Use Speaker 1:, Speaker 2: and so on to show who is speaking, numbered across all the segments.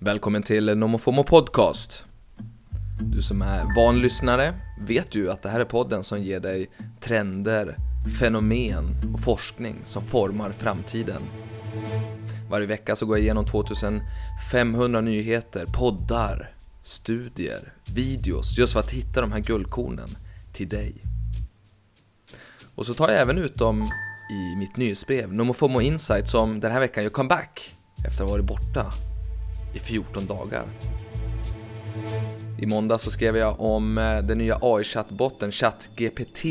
Speaker 1: Välkommen till Nomofomo Podcast. Du som är van lyssnare vet ju att det här är podden som ger dig trender, fenomen och forskning som formar framtiden. Varje vecka så går jag igenom 2500 nyheter, poddar, studier, videos just för att hitta de här guldkornen till dig. Och så tar jag även ut dem i mitt nyhetsbrev Nomofomo Insight som den här veckan gör comeback efter att ha varit borta i 14 dagar. I måndag så skrev jag om eh, den nya AI-chattbotten ChatGPT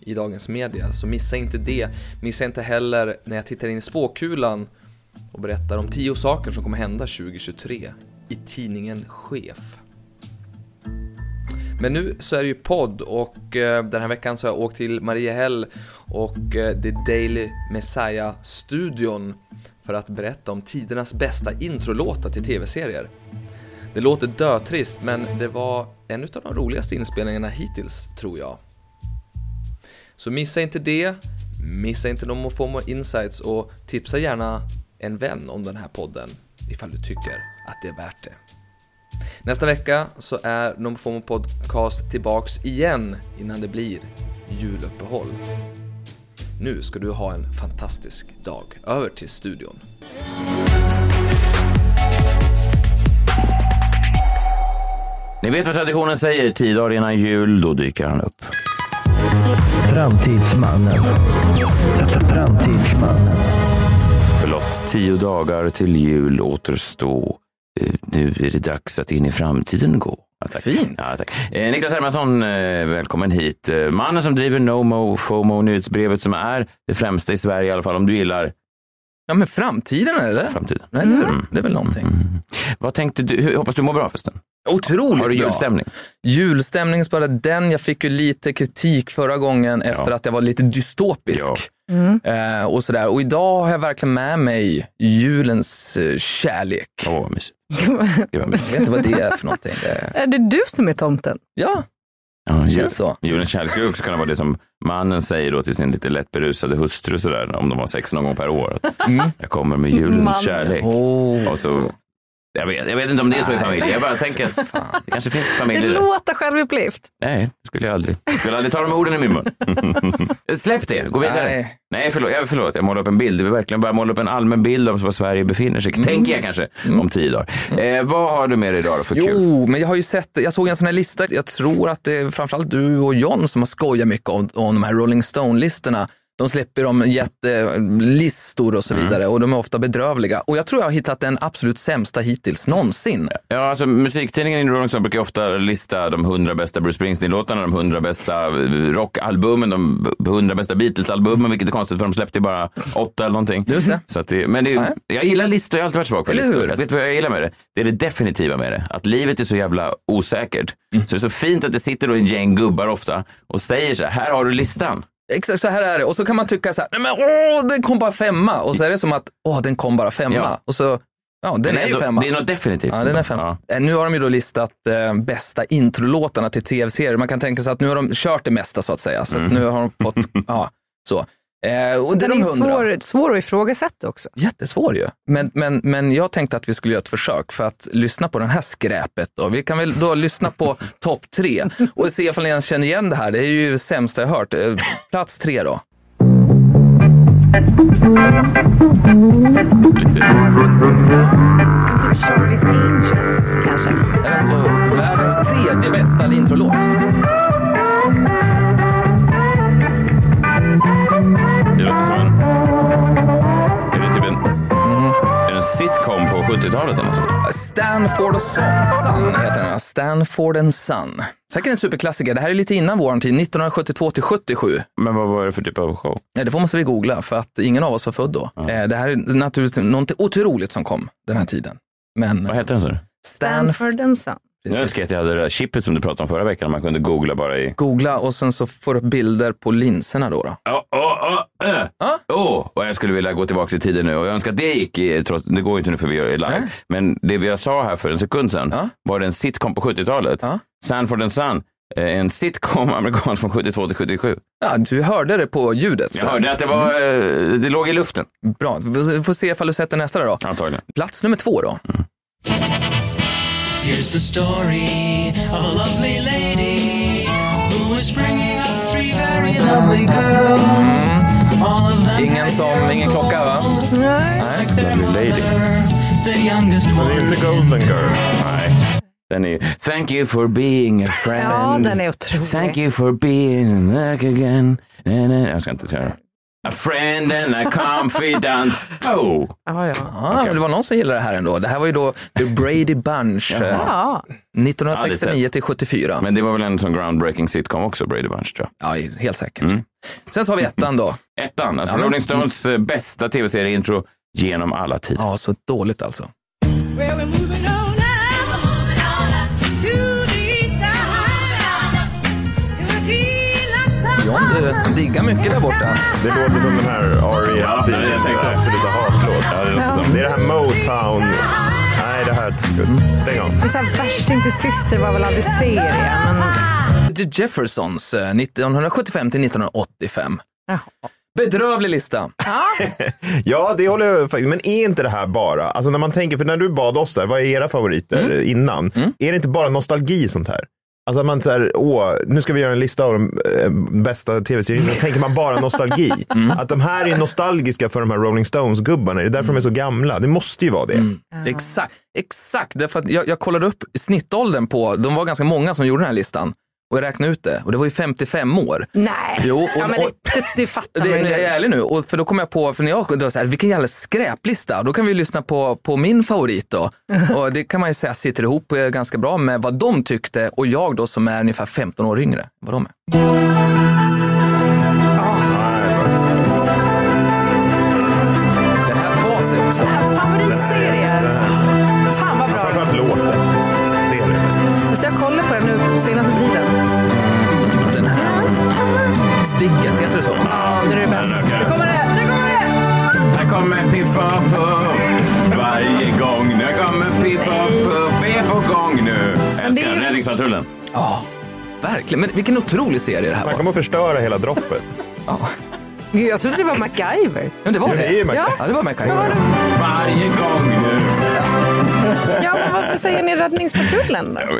Speaker 1: i dagens media, så missa inte det. Missa inte heller när jag tittar in i spåkulan och berättar om 10 saker som kommer hända 2023 i tidningen Chef. Men nu så är det ju podd och eh, den här veckan så har jag åkt till Mariehäll och eh, The Daily Messiah-studion för att berätta om tidernas bästa introlåtar till tv-serier. Det låter dötrist, men det var en av de roligaste inspelningarna hittills, tror jag. Så missa inte det, missa inte Nomofomo Insights och tipsa gärna en vän om den här podden ifall du tycker att det är värt det. Nästa vecka så är Nomofomo Podcast tillbaks igen innan det blir juluppehåll. Nu ska du ha en fantastisk dag. Över till studion.
Speaker 2: Ni vet vad traditionen säger, tio dagar innan jul, då dyker han upp.
Speaker 3: Framtidsmannen. Framtidsmannen.
Speaker 2: Förlåt, tio dagar till jul återstå. Eh, Nu är det dags att in i framtiden gå. Ja, tack.
Speaker 1: Fint.
Speaker 2: Ja, tack. Eh, Niklas Hermansson, eh, välkommen hit. Eh, mannen som driver NoMo FOMO nyhetsbrevet som är det främsta i Sverige i alla fall om du gillar
Speaker 1: Ja men framtiden eller?
Speaker 2: framtiden. Mm.
Speaker 1: Nej, eller hur? Det är väl någonting.
Speaker 2: Vad tänkte du? hur- Hoppas du mår bra förresten.
Speaker 1: Otroligt
Speaker 2: Har du
Speaker 1: bra.
Speaker 2: julstämning?
Speaker 1: Julstämning spelade den. Jag fick ju lite kritik förra gången efter att jag var lite dystopisk. Eh, och, sådär. och idag har jag verkligen med mig julens eh, kärlek.
Speaker 2: Åh, vad mysigt. Gud, vad mysigt.
Speaker 1: Vet du vad det är för någonting? Det är...
Speaker 4: Är det du som är tomten?
Speaker 1: Ja,
Speaker 2: Ja,
Speaker 1: det
Speaker 2: jul-
Speaker 1: känns så.
Speaker 2: Julens kärlek skulle också kunna vara det som mannen säger då till sin lite lätt berusade hustru sådär, om de har sex någon gång per år.
Speaker 1: Mm.
Speaker 2: Jag kommer med julens
Speaker 4: Man.
Speaker 2: kärlek.
Speaker 1: Oh,
Speaker 2: Och så, jag, vet, jag vet inte om det är så i
Speaker 1: Nej.
Speaker 2: familjer. Jag bara tänker att
Speaker 1: fan.
Speaker 2: det kanske finns
Speaker 4: Det
Speaker 2: familjer. där.
Speaker 4: låter självupplyft.
Speaker 2: Nej, det skulle jag aldrig. Jag skulle aldrig ta de orden i min mun. Släpp det, gå vidare. Nej,
Speaker 1: Nej.
Speaker 2: förlåt, jag, förlåt, jag målar upp en bild. Jag vill verkligen bara måla upp en allmän bild av var Sverige befinner
Speaker 1: Mm.
Speaker 2: sig. Tänker jag kanske om tio dagar. Eh, vad har du med dig idag då för kul?
Speaker 1: Jo, men jag har ju sett, jag såg en sån här lista. Jag tror att det är framförallt du och John som har skojat mycket om, om de här Rolling Stone-listorna. De släpper om jättelistor och så
Speaker 2: Mm.
Speaker 1: vidare och de är ofta bedrövliga. Och jag tror jag har hittat den absolut sämsta hittills någonsin.
Speaker 2: Ja, alltså, musiktidningen i Rolling Stone brukar ju ofta lista de hundra bästa Bruce Springsteen-låtarna, de hundra bästa eh, rockalbumen, de hundra bästa Beatles-albumen, vilket är konstigt för de släppte ju bara åtta eller någonting.
Speaker 1: Just det.
Speaker 2: Så att det, men det, är ju-
Speaker 1: Nej.
Speaker 2: jag gillar listor, jag har alltid varit svag för
Speaker 1: Eller
Speaker 2: listor.
Speaker 1: hur?
Speaker 2: Jag vet vad jag gillar med det? Det är det definitiva med det, att livet är så jävla osäkert.
Speaker 1: Mm.
Speaker 2: Så det är så fint att det sitter då en gäng gubbar ofta och säger så här, här har du listan.
Speaker 1: Exakt så här är det. Och så kan man tycka så här, nej men åh, den kom bara femma. Och så är det som att, åh, den kom bara femma.
Speaker 2: Ja.
Speaker 1: Och så, ja, den
Speaker 2: Men
Speaker 1: är ju
Speaker 2: ändå,
Speaker 1: femma.
Speaker 2: Det är något definitivt.
Speaker 1: Ja, den är fem. Eh, Nu har de ju då listat eh, bästa introlåtarna till tv-serier. Man kan tänka sig att nu har de kört det mesta så att säga. Så att nu har de fått, ja, så. Eh, och det är
Speaker 4: Den är ju
Speaker 1: de hundra.
Speaker 4: svår, svår att ifrågasätta också.
Speaker 1: Jättesvår ju. Men, men, men jag tänkte att vi skulle göra ett försök för att lyssna på den här skräpet. Då. Vi kan väl då lyssna på topp tre och se ifall ni ens känner igen det här. Det är ju det sämsta jag hört. Eh, Plats tre då.
Speaker 4: Typ Charlie's Angels kanske.
Speaker 1: Det är alltså världens tredje bästa introlåt.
Speaker 2: Det låter som en... Är det typ en...
Speaker 1: Mm.
Speaker 2: Är det en sitcom på 70-talet eller något sånt?
Speaker 1: Stanford och Son. Son heter den. Stanford and Son. Säkert en superklassiker. Det här är lite innan våran tid, 1972 till 77.
Speaker 2: Men vad var det för typ av show?
Speaker 1: Nej, det får måste vi googla för att ingen av oss var född då. Eh, Det här är naturligtvis något otroligt som kom den här tiden. Men
Speaker 2: Vad hette den så?
Speaker 1: Stanford,
Speaker 4: Stanford and Son.
Speaker 2: Jag önskar att jag hade det där chippet som du pratade om förra veckan, man kunde googla bara i...
Speaker 1: Googla och sen så får du upp bilder på linserna då. då.
Speaker 2: Åh, åh, åh, äh.
Speaker 1: Ja.
Speaker 2: Åh, och jag skulle vilja gå tillbaka i tiden nu och jag önskar att det gick, i, trots, det går ju inte nu för vi är live,
Speaker 1: Nej.
Speaker 2: men det jag sa här för en sekund sedan
Speaker 1: Ja.
Speaker 2: var det en sitcom på 70-talet,
Speaker 1: Ja.
Speaker 2: Sanford and Son, eh, en sitcom amerikansk från 72 till 77.
Speaker 1: Ja, du hörde det på ljudet.
Speaker 2: Jag
Speaker 1: så. Mm.
Speaker 2: hörde att det var, eh, det låg i luften
Speaker 1: Bra, vi får se ifall du sätter nästa då.
Speaker 2: antagligen. Mm.
Speaker 1: Plats nummer två då.
Speaker 3: Here's the story of a lovely lady who was bringing up three very lovely girls. All of them
Speaker 1: Ingen
Speaker 3: had
Speaker 1: som, ingen klocka va?
Speaker 4: Nej.
Speaker 1: Nej.
Speaker 3: their
Speaker 2: Lovely lady.
Speaker 3: mother, the youngest
Speaker 5: Det är
Speaker 3: one.
Speaker 5: inte Golden Girls.
Speaker 2: Nej. Den är ju, Thank you for being a friend.
Speaker 4: Ja, den är otrolig.
Speaker 2: Thank you for being back again. Na, na. Jag ska inte köra. A friend and a confidant. Oh.
Speaker 4: Ja, ja.
Speaker 1: Ah, men det var någon som gillade det här ändå. Det här var ju då The Brady Bunch. eh,
Speaker 4: Ja,
Speaker 1: 1969 till 74.
Speaker 2: Men det var väl en sån groundbreaking sitcom också, Brady Bunch tror
Speaker 1: Ja, helt säkert. Sen så har vi ettan då.
Speaker 2: jag. Ettan, alltså
Speaker 1: Ja, men-
Speaker 2: Rolling Stones eh, bästa tv-serieintro genom alla tider.
Speaker 1: Ja, så dåligt alltså.
Speaker 6: Well, we're moving on now. To the east side. To the deluxe
Speaker 1: John, du diggar mycket där borta.
Speaker 5: Det låter som den här E
Speaker 2: Ja,
Speaker 5: R.E.S.P.
Speaker 2: det är det jag tänkte.
Speaker 5: absoluta hatlåt.
Speaker 2: Ja, det låter som
Speaker 5: Det är det här Motown. Nej, det här... Stäng av.
Speaker 4: men så här, värsting till syster var väl aldrig serien. Men...
Speaker 1: The Jeffersons eh, 1975 till 1985. Bedrövlig lista.
Speaker 5: Ja, det håller jag faktiskt. Men är inte det här bara, alltså när man tänker, för när du bad oss där, vad är era favoriter
Speaker 2: Mm.
Speaker 5: innan? Är det inte bara nostalgi i sånt här? Alltså att man säger, åh, nu ska vi göra en lista av de eh, bästa tv-serierna. Då tänker man bara nostalgi.
Speaker 2: Mm.
Speaker 5: Att de här är nostalgiska för de här Rolling Stones-gubbarna. Det är därför de är så gamla. Det måste ju vara det.
Speaker 2: Mm.
Speaker 1: Exakt, exakt. Därför att jag, jag kollade upp snittåldern på, de var ganska många som gjorde den här listan. Och jag räknade ut det och det var ju 55 år.
Speaker 4: Nej,
Speaker 1: Jo, och-
Speaker 4: ja, men
Speaker 1: och-
Speaker 4: det, det, det fattar
Speaker 1: Det,
Speaker 4: man
Speaker 1: är jag är
Speaker 4: ju.
Speaker 1: ärlig nu, och för då kom jag på, för när jag det var så här, vilken jävla skräplista, då kan vi ju lyssna på, på min favorit då. Och det kan man ju säga sitter ihop eh, ganska bra med vad de tyckte och jag då som är ungefär 15 år yngre än vad de är. Den här basen också.
Speaker 4: Favoritserier. Fan vad bra.
Speaker 5: Framförallt låten. Serien.
Speaker 4: Så jag kollar på den nu senaste tiden.
Speaker 1: Den här sticket, heter det så?
Speaker 4: Ja, nu är det bäst. Nu kommer det, nu kommer det!
Speaker 2: Här kommer Piff och Puff varje gång. Nu kommer Piff och Puff, är på gång nu. Älskar
Speaker 4: ju-
Speaker 2: Räddningspatrullen.
Speaker 1: Ja, verkligen. Men vilken otrolig serie det här
Speaker 5: Man
Speaker 1: var.
Speaker 5: kommer att förstöra hela droppet.
Speaker 4: Gud, jag trodde det var MacGyver.
Speaker 1: Men det var
Speaker 5: Ja, det är ju
Speaker 1: det.
Speaker 5: MacGyver.
Speaker 1: Ja, det var MacGyver.
Speaker 2: Varje gång nu.
Speaker 4: Ja, men varför säger ni Räddningspatrullen då?
Speaker 2: Jag,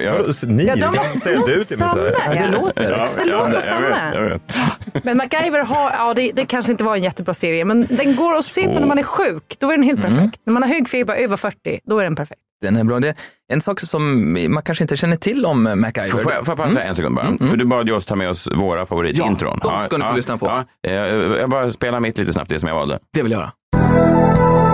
Speaker 5: Ni,
Speaker 4: Ja, de
Speaker 5: det
Speaker 4: har
Speaker 5: säger du till mig så
Speaker 4: snott
Speaker 5: här.
Speaker 4: samma.
Speaker 1: Ja, det
Speaker 4: Ja.
Speaker 1: låter exakt
Speaker 4: ja.
Speaker 1: som det.
Speaker 4: låter
Speaker 2: jag vet,
Speaker 4: samma.
Speaker 2: jag vet.
Speaker 4: Men MacGyver har, ja det, det kanske inte var en jättebra serie, men den går att se på när man är sjuk. Då är den helt perfekt. När man har hög feber över 40, då är den perfekt.
Speaker 1: Den är bra. Det är en sak som man kanske inte känner till om eh, MacGyver.
Speaker 2: Får, får, jag- får jag bara säga en sekund bara? För du bad ju oss ta med oss våra favoritintron.
Speaker 1: Ja, de ska ni få lyssna på.
Speaker 2: ja. Eh, jag bara spelar mitt lite snabbt, det som jag valde.
Speaker 1: Det vill jag göra.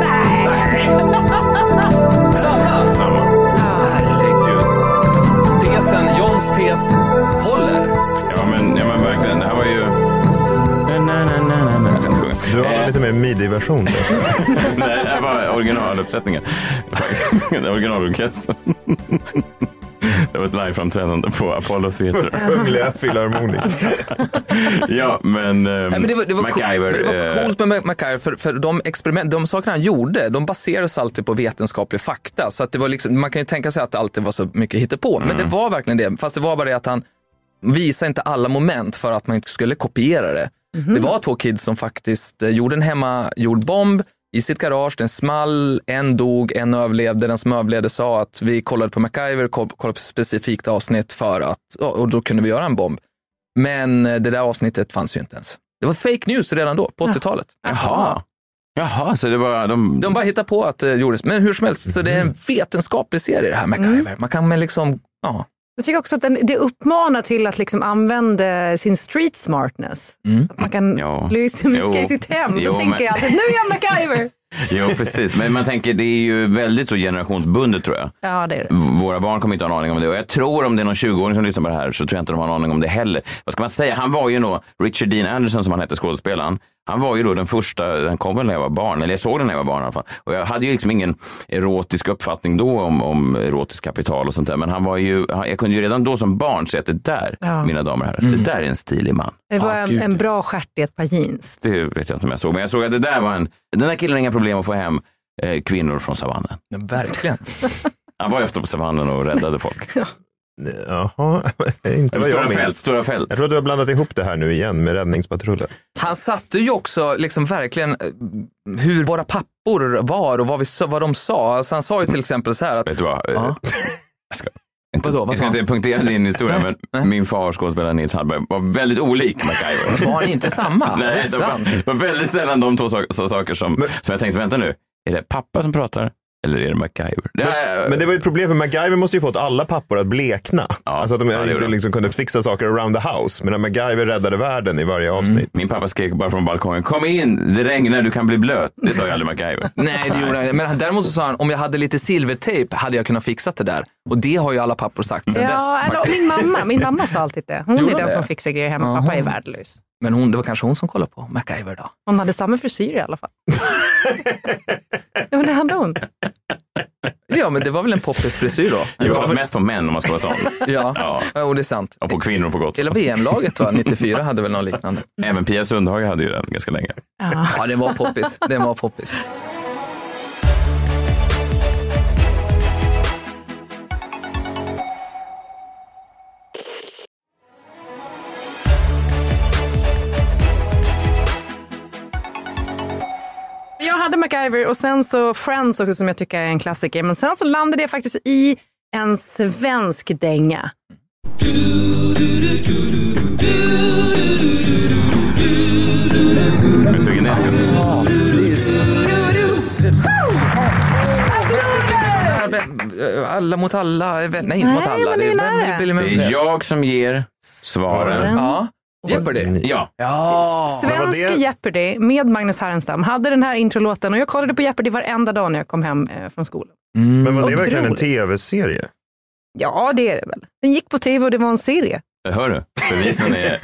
Speaker 1: Tesen, Johns tes, håller.
Speaker 2: Ja men, ja, men verkligen, det här var ju... Na, na, na, na, na. Jag ska inte sjunga.
Speaker 5: Du har en lite mer midi-version. där.
Speaker 2: Nej, det här var originaluppsättningen. Faktiskt. Det var Originalorkestern. Det var ett liveframträdande på Apollo Theatre.
Speaker 5: Kungliga Filharmonikern.
Speaker 2: Ja, men, ehm,
Speaker 1: Nej, men det var, det var
Speaker 2: MacGyver.
Speaker 1: Coolt, men det var
Speaker 2: eh,
Speaker 1: coolt med Mac- MacGyver, för, för de, experiment, de sakerna han gjorde, de baserades alltid på vetenskaplig fakta. Så att det var liksom, man kan ju tänka sig att det alltid var så mycket hittepå, men det var verkligen det. Fast det var bara det att han visade inte alla moment för att man inte skulle kopiera det. Det var två kids som faktiskt eh, gjorde en hemmagjord bomb i sitt garage, den small, en dog, en överlevde. Den som överlevde sa att vi kollade på MacGyver, koll- kollade på specifikt avsnitt för att, och och då kunde vi göra en bomb. Men eh, det där avsnittet fanns ju inte ens. Det var fake news redan då, på 80-talet.
Speaker 2: Jaha. Jaha, så det var... De,
Speaker 1: De bara hittade på att det gjordes. Men hur som helst, så det är en
Speaker 2: Mhm.
Speaker 1: vetenskaplig serie det här
Speaker 2: Mm.
Speaker 1: MacGyver. Man kan väl liksom, ja.
Speaker 4: Jag tycker också att den, det uppmanar till att liksom använda sin street smartness. Att man kan
Speaker 2: Ja.
Speaker 4: lysa mycket
Speaker 2: Jo.
Speaker 4: i sitt hem. Då
Speaker 2: Jo,
Speaker 4: tänker
Speaker 2: men-
Speaker 4: jag alltid, nu är jag MacGyver!
Speaker 2: Jo, precis. Men man tänker, det är ju väldigt så generationsbundet tror jag.
Speaker 4: Ja, det är det.
Speaker 2: V- Våra barn kommer inte ha en aning om det. Och jag tror om det är någon 20-åring som lyssnar på det här så tror jag inte de har en aning om det heller. Vad ska man säga? Han var ju då, Richard Dean Anderson som han hette, skådespelaren. Han var ju då den första, den kom väl när jag var barn, eller jag såg den när jag var barn i alla fall. Och jag hade ju liksom ingen erotisk uppfattning då om, om erotiskt kapital och sånt där. Men han var ju, han- jag kunde ju redan då som barn se att det där,
Speaker 4: Ja.
Speaker 2: mina damer och herrar, det där är en stilig man.
Speaker 4: Det var en, en bra stjärt i ett par jeans.
Speaker 2: Det vet jag inte om jag såg, men jag såg att det där var en, den där killen har inga problem att få hem eh, kvinnor från savannen.
Speaker 1: Verkligen.
Speaker 2: Han var ju ofta på savannen och räddade folk.
Speaker 5: Jaha, inte vad
Speaker 2: Stora
Speaker 5: jag
Speaker 2: fält,
Speaker 5: minns.
Speaker 2: stora fält.
Speaker 5: Jag tror att du har blandat ihop det här nu igen med Räddningspatrullen.
Speaker 1: Han satte ju också liksom verkligen eh, hur våra pappor var och vad, vi, sa- vad de sa. Alltså han sa ju till exempel så här att
Speaker 2: Vet du vad? Eh, Jag ska inte,
Speaker 1: Vadå, vad
Speaker 2: jag ska
Speaker 1: sa
Speaker 2: inte punktera din historia, men min far, skådespelaren Nils Hallberg, var väldigt olik MacGyver.
Speaker 1: Var det inte samma? det är
Speaker 2: Nej, det
Speaker 1: sant.
Speaker 2: var, var väldigt sällan de två sa, sa saker som, som jag tänkte, vänta nu, är det pappa som pratar eller är det MacGyver? Det, är-
Speaker 5: Men det var ju ett problem för MacGyver måste ju fått alla pappor att blekna. alltså att de
Speaker 2: ja, det gjorde
Speaker 5: inte
Speaker 2: han.
Speaker 5: liksom kunde fixa saker around the house. Medan MacGyver räddade världen i varje avsnitt.
Speaker 2: Min pappa skrek bara från balkongen, kom in, det regnar, du kan bli blöt. Det sa ju aldrig MacGyver.
Speaker 1: Nej, det gjorde han inte. Men han- däremot så sa han, om jag hade lite silvertejp hade jag kunnat fixa det där. Och det har ju alla pappor sagt sedan
Speaker 4: Ja,
Speaker 1: dess.
Speaker 4: eller,
Speaker 1: faktiskt.
Speaker 4: min, mamma, min mamma sa alltid det. Hon
Speaker 1: Gjorde
Speaker 4: är den
Speaker 1: det?
Speaker 4: som fixar grejer hemma. Pappa är värdelös.
Speaker 1: Men hon, det var kanske hon som kollade på MacGyver då.
Speaker 4: Hon hade samma frisyr i alla fall. ja, men det hade hon.
Speaker 1: Ja, men det var väl en poppis frisyr då?
Speaker 2: Jo, fast mest på män om man ska vara sån.
Speaker 1: Ja,
Speaker 2: Ja.
Speaker 1: ja. och det är sant.
Speaker 2: Och på kvinnor och på gott.
Speaker 1: Hela VM-laget va, 94 hade väl något liknande.
Speaker 2: Även Pia Sundhage hade ju den ganska länge.
Speaker 1: Ja, den var poppis. Den var poppis.
Speaker 4: Jag hade MacGyver och sen så Friends också som jag tycker är en klassiker. Men sen så landade jag faktiskt i en svensk dänga.
Speaker 2: Men suger ner den.
Speaker 1: eh, Alla mot alla, är vän- nej inte
Speaker 4: Nej,
Speaker 1: mot alla.
Speaker 4: men
Speaker 1: Det
Speaker 4: det
Speaker 1: är
Speaker 4: är
Speaker 1: vem
Speaker 4: nära.
Speaker 1: blir Billy
Speaker 2: Det är
Speaker 1: Mumler?
Speaker 2: jag som ger svaren.
Speaker 1: Ja, Jeopardy.
Speaker 2: Ja,
Speaker 1: Ja,
Speaker 5: vad var
Speaker 4: Mm. Svensk
Speaker 5: det?
Speaker 4: Jeopardy med Magnus Härenstam hade den här introlåten och jag kollade på Jeopardy varenda dag när jag kom hem eh, från skolan.
Speaker 5: Mm. Men var det verkligen en
Speaker 4: Otroligt.
Speaker 5: tv-serie?
Speaker 4: Ja, det är det väl. Den gick på tv och det var en serie.
Speaker 2: det hör du. Bevisen är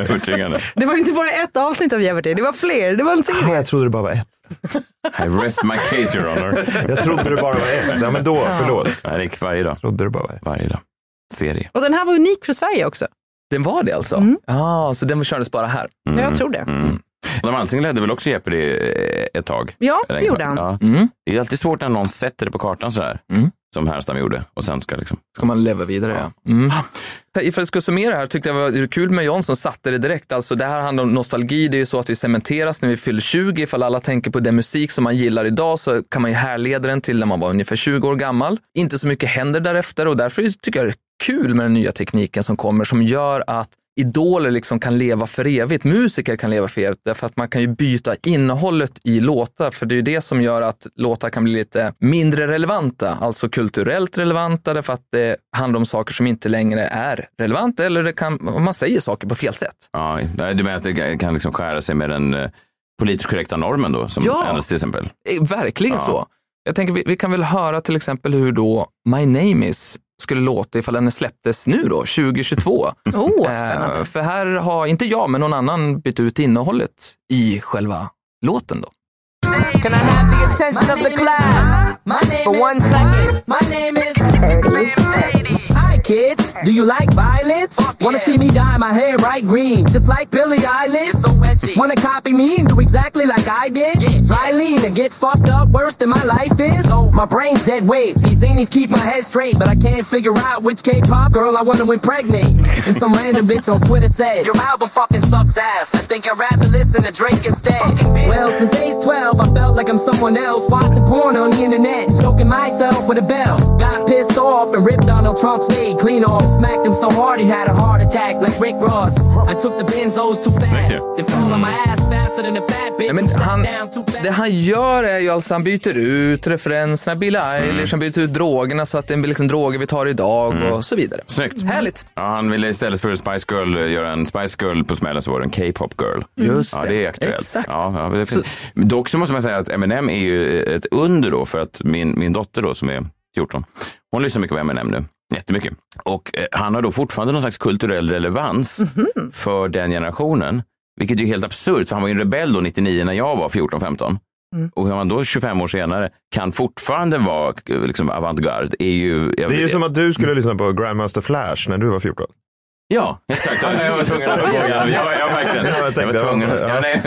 Speaker 2: övertygande.
Speaker 4: Det var inte bara ett avsnitt av Jeopardy, det var fler. Det var en serie.
Speaker 5: Jag trodde det bara var ett.
Speaker 2: I rest my case your honor.
Speaker 5: Jag trodde det bara var ett. Ja, men då, förlåt. Jag
Speaker 2: Nej, det gick varje dag.
Speaker 5: trodde det bara var ett.
Speaker 2: Varje dag. Serie.
Speaker 4: Och den här var unik för Sverige också.
Speaker 1: den var det alltså? Ja, så den kördes bara här.
Speaker 4: Ja,
Speaker 5: Mm,
Speaker 4: jag tror det.
Speaker 2: Adam Alsing ledde väl också Jeopardy eh, ett tag?
Speaker 4: Ja, det
Speaker 2: Eller en-
Speaker 4: gjorde han.
Speaker 2: Ja.
Speaker 1: Mm.
Speaker 2: Det är alltid svårt när någon sätter det på kartan sådär.
Speaker 1: Mm.
Speaker 2: Som Härenstam gjorde. Och sen ska liksom...
Speaker 1: Ska man leva vidare ja. Mm. Ifall jag ska summera här tyckte jag det var kul med John som satte det direkt. Alltså det här handlar om nostalgi, det är ju så att vi cementeras när vi fyller 20. Ifall alla tänker på den musik som man gillar idag så kan man ju härleda den till när man var ungefär 20 år gammal. Inte så mycket händer därefter och därför tycker jag det är kul med den nya tekniken som kommer som gör att idoler liksom kan leva för evigt. Musiker kan leva för evigt därför att man kan ju byta innehållet i låtar för det är ju det som gör att låtar kan bli lite mindre relevanta, alltså kulturellt relevanta därför att det handlar om saker som inte längre är relevanta eller det kan, man säger saker på fel sätt.
Speaker 2: Ja, du menar att det kan liksom skära sig med den eh, politiskt korrekta normen då? Som
Speaker 1: Ja.
Speaker 2: Anders till exempel.
Speaker 1: Eh, Verkligen
Speaker 2: Ja.
Speaker 1: så. Jag tänker vi, vi kan väl höra till exempel hur då My Name Is skulle låta ifall den släpptes nu då, 2022.
Speaker 4: Åh, oh, spännande.
Speaker 1: Eh, för här har, inte jag, men någon annan bytt ut innehållet i själva låten då.
Speaker 7: Can I have the attention of the class for one second? My name is Hi, kids. Do you like violence? Wanna see me dye my hair bright green, just like Billie Eilish? So edgy. Wanna copy me and do exactly like I did? Fly lean and get fucked up worse than my life is? Oh, my brain's dead weight. These zanies keep my head straight, but I can't figure out which K-pop girl I wanna impregnate. And some random bitch on Twitter said, Your album fucking sucks ass. I think I'd rather listen to Drake instead. Well, since age 12, I felt like I'm someone else. Watching porn on the internet and choking myself with a bell. Got pissed off and ripped Donald Trump's knee clean off. Smacked him so hard he had a heart attack like Rick Ross. I took the benzos too fast.
Speaker 2: Snyggt ju.
Speaker 7: They fell on my ass faster than the fat bitch.
Speaker 1: Nej, men
Speaker 7: who sat
Speaker 1: han,
Speaker 7: down too fast.
Speaker 1: det han gör är ju alltså han byter ut referenserna, Billie Eilish, han byter ut drogerna så att det blir liksom droger vi tar idag och så vidare.
Speaker 2: Snyggt.
Speaker 1: Härligt.
Speaker 2: Ja, han ville istället för Spice Girl eh, göra en Spice Girl på smällen så var det en K-pop girl.
Speaker 1: Mm. Just
Speaker 2: ja,
Speaker 1: det.
Speaker 2: det är aktuellt.
Speaker 1: Exakt.
Speaker 2: Ja, ja, det är fint. Dock så måste man säga att Eminem är ju ett under då för att min, min dotter då som är 14, hon lyssnar mycket på Eminem nu. Jättemycket. Och eh, han har då fortfarande någon slags kulturell relevans
Speaker 1: Mhm.
Speaker 2: för den generationen. Vilket är ju helt absurt, för han var ju en rebell då 99 när jag var 14-15.
Speaker 1: Mm.
Speaker 2: Och hur man då 25 år senare kan fortfarande vara eh, liksom avantgarde är ju... jag-
Speaker 5: Det är ju som att du skulle lyssna på Grandmaster Flash när du var 14.
Speaker 2: Ja, exakt. Ja, jag var tvungen att gå igenom. Ja, ja, verkligen.
Speaker 5: Ja, jag
Speaker 2: Jag
Speaker 5: tänkte-
Speaker 2: var tvungen.
Speaker 5: ja.
Speaker 2: Ja, nej,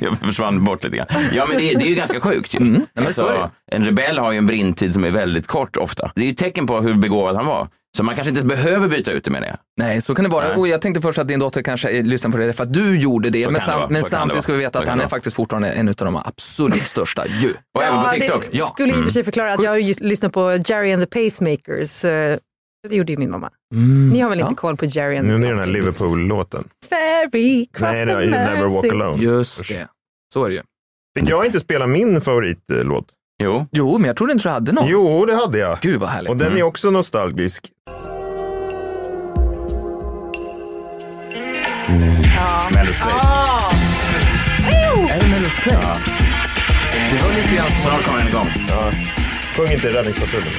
Speaker 2: jag försvann bort lite grann. Ja, men det, det är ju ganska sjukt ju.
Speaker 1: men så är det.
Speaker 2: alltså, en rebell har ju en brintid som är väldigt kort ofta. Det är ju ett tecken på hur begåvad han var. Så man kanske inte ens behöver byta ut det menar jag.
Speaker 1: Nej, så kan det vara.
Speaker 2: Nej.
Speaker 1: Och jag tänkte först att din dotter kanske eh, lyssnar på det för att du gjorde det.
Speaker 2: Så
Speaker 1: men
Speaker 2: kan det
Speaker 1: sam-
Speaker 2: vara.
Speaker 1: men
Speaker 2: Så kan det
Speaker 1: samtidigt
Speaker 2: vara.
Speaker 1: ska vi veta
Speaker 2: Så
Speaker 1: att
Speaker 2: kan
Speaker 1: han
Speaker 2: det
Speaker 1: är
Speaker 2: vara.
Speaker 1: faktiskt fortfarande en av de absolut största ju.
Speaker 2: Och även på TikTok.
Speaker 4: det
Speaker 2: Ja.
Speaker 4: skulle i och för
Speaker 5: Mm.
Speaker 4: sig förklara att jag just lyssnar på Jerry and the Pacemakers. eh, Det gjorde ju min mamma. Ni har väl inte koll på Jerry and
Speaker 5: Mm. Nu
Speaker 4: the
Speaker 5: är det den här
Speaker 4: Pacemakers?
Speaker 5: Liverpool-låten.
Speaker 4: Ferry, cross
Speaker 5: Nej,
Speaker 4: the
Speaker 5: det var You Never Walk
Speaker 4: Mersey.
Speaker 5: Alone.
Speaker 1: Just det. Så är det ju.
Speaker 5: Fick jag inte spela min favoritlåt?
Speaker 2: Jo.
Speaker 1: Jo, men jag trodde inte du hade någon.
Speaker 5: Jo, det hade jag.
Speaker 1: Gud vad härligt.
Speaker 5: Och den är
Speaker 2: Mm.
Speaker 5: också nostalgisk.
Speaker 2: Det var lite grann snart kommer den igång.
Speaker 5: Sjung inte Räddningspatrullen.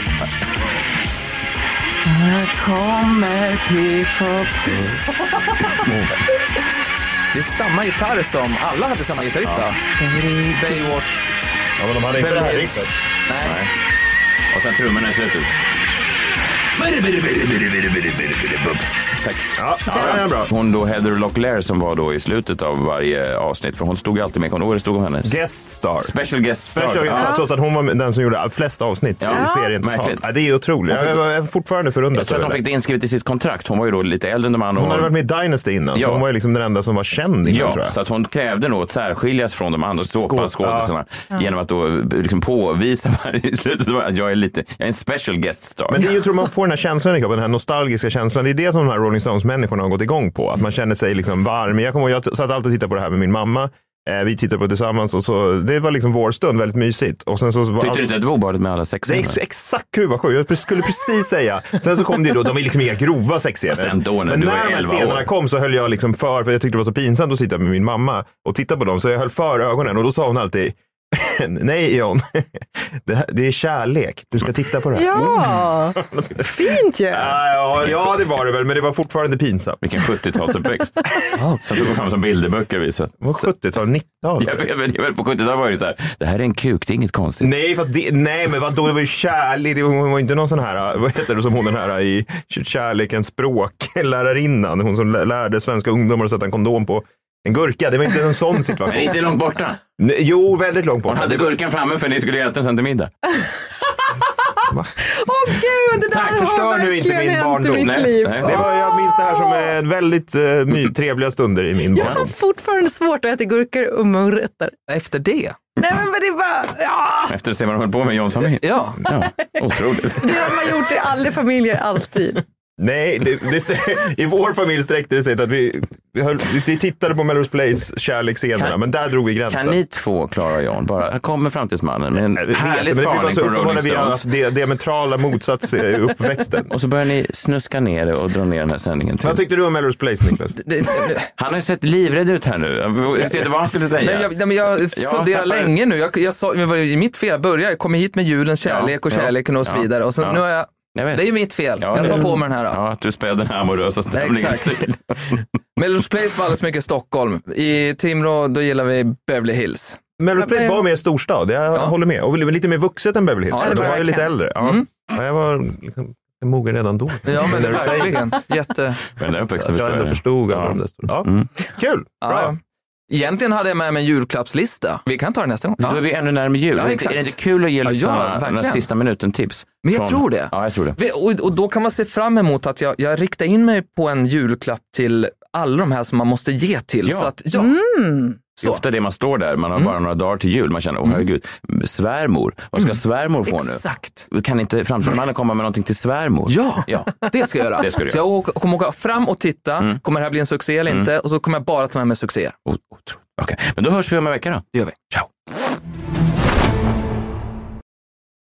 Speaker 1: Det är samma gitarr som alla hade samma gitarrist va? Baywatch.
Speaker 5: Ja, men de hade inte det här
Speaker 1: Berlin.
Speaker 5: riffet.
Speaker 1: Nej.
Speaker 2: Och sen trummorna i slutet.
Speaker 5: Ja, ja, den är bra.
Speaker 2: Hon då Heather Locklear som var då i slutet av varje avsnitt. För hon stod ju alltid med. Kommer du ihåg det stod om henne?
Speaker 5: Guest star.
Speaker 2: Special guest star.
Speaker 5: Special
Speaker 2: Ja.
Speaker 5: guest star, trots att hon var den som gjorde flest avsnitt
Speaker 2: Ja.
Speaker 5: i serien
Speaker 2: Ja,
Speaker 5: totalt.
Speaker 2: märkligt.
Speaker 5: Ja, det är otroligt. Jag, jag, är fortfarande
Speaker 2: Jag
Speaker 5: förundrad
Speaker 2: tror att
Speaker 5: över
Speaker 2: hon
Speaker 5: det.
Speaker 2: fick det inskrivet i sitt kontrakt. Hon var ju då lite äldre än de andra.
Speaker 5: Hon hade varit med i Dynasty innan,
Speaker 2: Ja.
Speaker 5: så hon var ju liksom den enda som var känd innan tror
Speaker 2: Ja,
Speaker 5: jag.
Speaker 2: så att hon krävde nog att särskiljas från de andra såpa-
Speaker 5: Skåp- ja.
Speaker 2: skådisarna genom att då liksom påvisa varje- i slutet av- att jag är lite, jag är en special guest star.
Speaker 5: Men det är ju tror man får den här känslan i kroppen, den här nostalgiska känslan. Det är det som de här Rolling Stones-människorna har gått igång på. Att man känner sig liksom varm. Jag, kommer, ihåg, jag t- satt alltid och tittade på det här med min mamma. Eh, vi tittade på det tillsammans och så, det var liksom vår stund, väldigt mysigt. Och sen så var
Speaker 2: Tyckte du inte att det var obehagligt med alla sex
Speaker 5: Det är ex- exakt gud vad sjukt, jag pre- skulle precis säga. Sen så kom det ju då, de är liksom inga grova sexscener.
Speaker 2: ändå, när
Speaker 5: Men
Speaker 2: du
Speaker 5: när
Speaker 2: var
Speaker 5: de här
Speaker 2: 11
Speaker 5: scenerna
Speaker 2: år.
Speaker 5: kom så höll jag liksom för, för jag tyckte det var så pinsamt att sitta med min mamma och titta på dem. Så jag höll för ögonen och då sa hon alltid, nej John, det, här, det är kärlek, du ska titta på det här.
Speaker 4: Ja, fint ju.
Speaker 5: Ah, ja, ja, det var det väl, men det var fortfarande pinsamt.
Speaker 2: Vilken 70-talsuppväxt. Som tog fram som bilderböcker och visade.
Speaker 5: Det var 70-tal, 90-tal.
Speaker 2: Jag vet, men det är väl på 70-talet var det ju så här, det här är en kuk, det är inget konstigt.
Speaker 5: Nej, för att det, nej, men vadå, det var ju kärlek. Det var, hon var inte någon sån här, vad heter det som hon den här i Kärlekens språklärarinnan. Hon som lä- lärde svenska ungdomar att sätta en kondom på en gurka. Det var inte en sån
Speaker 2: Men
Speaker 5: situation.
Speaker 2: inte långt borta.
Speaker 5: Nej, Jo, väldigt långt bort.
Speaker 2: Hon hade gurkan framme för ni skulle äta den sen till middag.
Speaker 4: Åh gud, det där
Speaker 5: Tack, förstör
Speaker 4: har
Speaker 5: nu inte
Speaker 4: verkligen
Speaker 5: min
Speaker 4: hänt i
Speaker 5: barndom.
Speaker 4: mitt
Speaker 2: Nej,
Speaker 4: liv.
Speaker 2: nej.
Speaker 5: Det var, jag minns det här som en väldigt eh, my, trevliga stunder i min
Speaker 4: Jag har
Speaker 5: barndom.
Speaker 4: fortfarande svårt att äta gurkor och morötter.
Speaker 1: Efter det?
Speaker 4: Nej men det är bara, ja,
Speaker 2: Efter att se vad de höll på med i Johns familj.
Speaker 1: Ja.
Speaker 2: Ja, otroligt.
Speaker 4: det har man gjort i alla familjer alltid.
Speaker 5: Nej, det, det, st- i vår familj sträckte det sig till att vi, vi, höll, vi tittade på Melrose Place kärleksscenerna,
Speaker 2: Kan-
Speaker 5: men där drog vi gränsen.
Speaker 2: Kan
Speaker 1: Alltså.
Speaker 2: ni två, Klara och John, bara, här kommer framtidsmannen med en
Speaker 5: Jag vet, men
Speaker 2: härlig
Speaker 5: det blir bara
Speaker 2: spaning
Speaker 5: så
Speaker 2: från
Speaker 5: uppenbart
Speaker 2: Rolling
Speaker 5: när vi har
Speaker 2: Stones.
Speaker 5: haft di- diametrala motsatser i uppväxten.
Speaker 2: Och så börjar ni snuska ner det och dra ner den här sändningen till.
Speaker 5: Vad tyckte du om Melrose Place Niklas?
Speaker 1: Det,
Speaker 2: Han har ju sett livrädd ut här nu. Jag vet inte vad han skulle
Speaker 1: nej,
Speaker 2: säga.
Speaker 1: jag, nej, men jag funderar
Speaker 2: tappar-
Speaker 1: länge nu. Jag, jag sa, det var ju mitt fel. Jag började, jag kom hit med julens kärlek och
Speaker 2: Ja, ja,
Speaker 1: kärleken och så
Speaker 2: ja,
Speaker 1: vidare. Och sen,
Speaker 2: ja.
Speaker 1: nu har jag,
Speaker 2: Jag vet.
Speaker 1: det är ju mitt fel.
Speaker 2: Ja,
Speaker 1: jag
Speaker 2: det-
Speaker 1: tar på mig den här. Då.
Speaker 2: Ja, att du spär den här amorösa stämningen.
Speaker 1: Exakt. Melrose Place var alldeles mycket Stockholm. I Timrå, då gillar vi Beverly Hills.
Speaker 5: Melrose Place var mer storstad, jag håller med. Och lite mer vuxet än Beverly Hills.
Speaker 1: Ja, det
Speaker 5: De
Speaker 1: var
Speaker 5: var ju lite
Speaker 1: verkligen.
Speaker 5: äldre. Ja. Ja, jag var liksom mogen redan då.
Speaker 1: Ja, men
Speaker 5: När du säger
Speaker 1: verkligen. Jätte...
Speaker 2: Men den uppväxten
Speaker 5: Att jag
Speaker 2: förstår jag.
Speaker 5: ändå förstod. alla
Speaker 2: Ja.
Speaker 5: de där stora- Ja. Kul!
Speaker 1: Ja.
Speaker 5: Bra.
Speaker 1: Egentligen hade jag med mig en julklappslista. Vi kan ta det nästa gång.
Speaker 2: Då är vi ännu närmare jul.
Speaker 1: Ja,
Speaker 2: Är det-
Speaker 1: exakt.
Speaker 2: är det inte kul att ge
Speaker 1: Ja, ja,
Speaker 2: lyssnarna den här
Speaker 1: verkligen.
Speaker 2: sista minuten-tips?
Speaker 1: Men jag tror det.
Speaker 2: Ja, jag tror det.
Speaker 1: Vi- Och, och då kan man se fram emot att jag, jag riktar in mig på en julklapp till alla de här som man måste ge till.
Speaker 2: Ja.
Speaker 1: Så att, ja. Mm.
Speaker 2: Det är ofta det man står där, man har bara några dagar till jul, man känner,
Speaker 1: Mm.
Speaker 2: åh herregud, svärmor, vad ska svärmor få
Speaker 1: Exakt.
Speaker 2: nu? Kan inte framtidsmannen komma med någonting till svärmor?
Speaker 1: Ja.
Speaker 2: ja.
Speaker 1: Det ska jag göra.
Speaker 2: Det ska du
Speaker 1: så jag åker, kommer åka fram och titta. Kommer det här bli en Mm. succé eller inte? Och så kommer jag bara ta med mig succéer.
Speaker 2: O- Otroligt. Okej, men då hörs vi om en vecka då.
Speaker 1: Det gör vi.
Speaker 2: Ciao.